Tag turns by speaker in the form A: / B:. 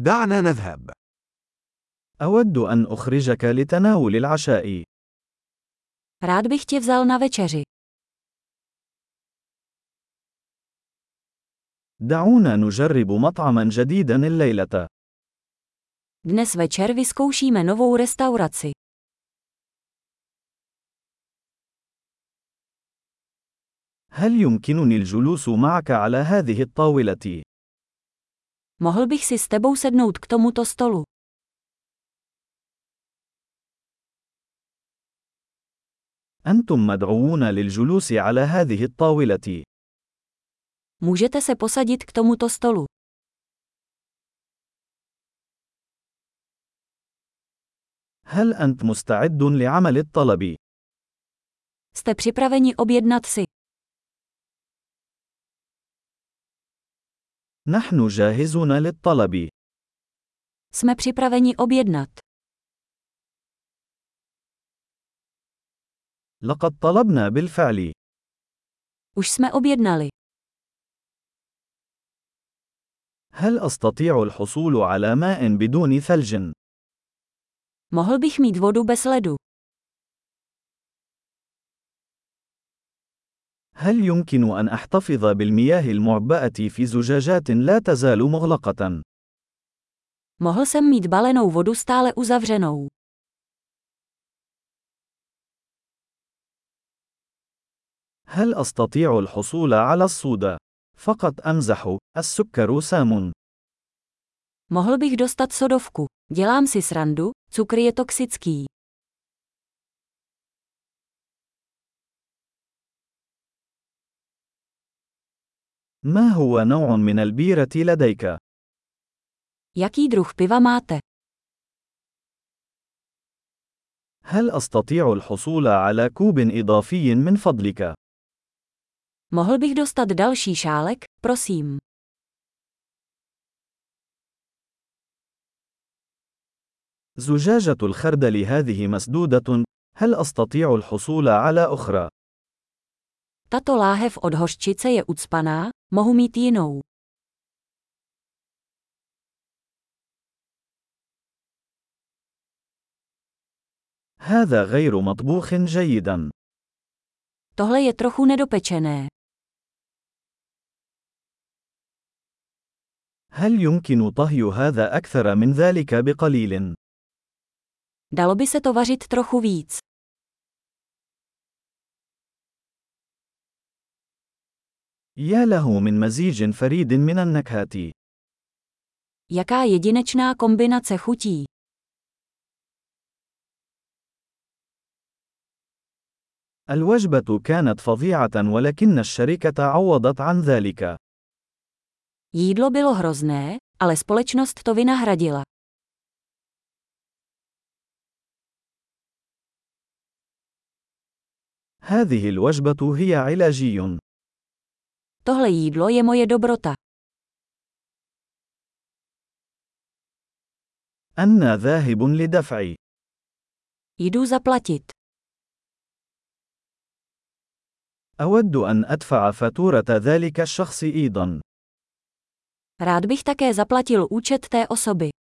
A: دعنا نذهب.
B: أود أن أخرجك لتناول العشاء.
C: Rád bych tě vzal na večeři.
B: دعونا نجرب مطعما جديدا الليلة.
C: Dnes večer vyzkoušíme novou restauraci.
B: هل يمكنني الجلوس معك على هذه الطاولة؟
C: Mohl bych si s tebou sednout k tomuto stolu.
B: أنتم مدعوون للجلوس على هذه الطاولة.
C: Můžete se posadit k tomuto stolu.
B: هل أنت مستعد لعمل الطلب؟
C: Jste připraveni objednat si.
B: نحن جاهزون للطلب.
C: Jsme připraveni objednat.
B: لقد طلبنا بالفعل.
C: Už jsme objednali.
B: هل أستطيع الحصول على ماء بدون ثلج؟
C: Mohl bych mít vodu bez ledu.
B: هل يمكن أن أحتفظ بالمياه المعبأة في زجاجات لا تزال مغلقة؟
C: Mohl jsem mít balenou vodu stále uzavřenou.
B: هل أستطيع الحصول على الصودا؟ فقط أمزح، السكر سام.
C: Mohl bych dostat sodovku. Dělám si srandu, cukr je toxický.
B: ما هو نوع من البيرة لديك؟
C: Jaký druh piva máte?
B: هل أستطيع الحصول على كوب إضافي من فضلك؟
C: Mohl bych dostat další šálek, prosím.
B: زجاجة الخردل هذه مسدودة، هل أستطيع الحصول على أخرى؟
C: Tato láhev od hořčice je ucpaná, mohu mít jinou.
B: هذا غير مطبوخ جيدا.
C: Tohle je trochu nedopečené.
B: هل يمكن طهي هذا أكثر من ذلك بقليل؟
C: Dalo by se to vařit trochu víc.
B: يا له من مزيج فريد من النكهات.
C: Jaká jedinečná kombinace chutí.
B: الوجبة كانت فظيعة ولكن الشركة عوضت عن ذلك.
C: Jídlo bylo hrozné, ale společnost to vynahradila.
B: هذه الوجبة هي علاجي.
C: Tohle jídlo je moje dobrota.
B: أنا ذاهب لدفع.
C: Jdu zaplatit.
B: أود أن أدفع فاتورة ذلك الشخص أيضا.
C: Rád bych také zaplatil účet té osoby.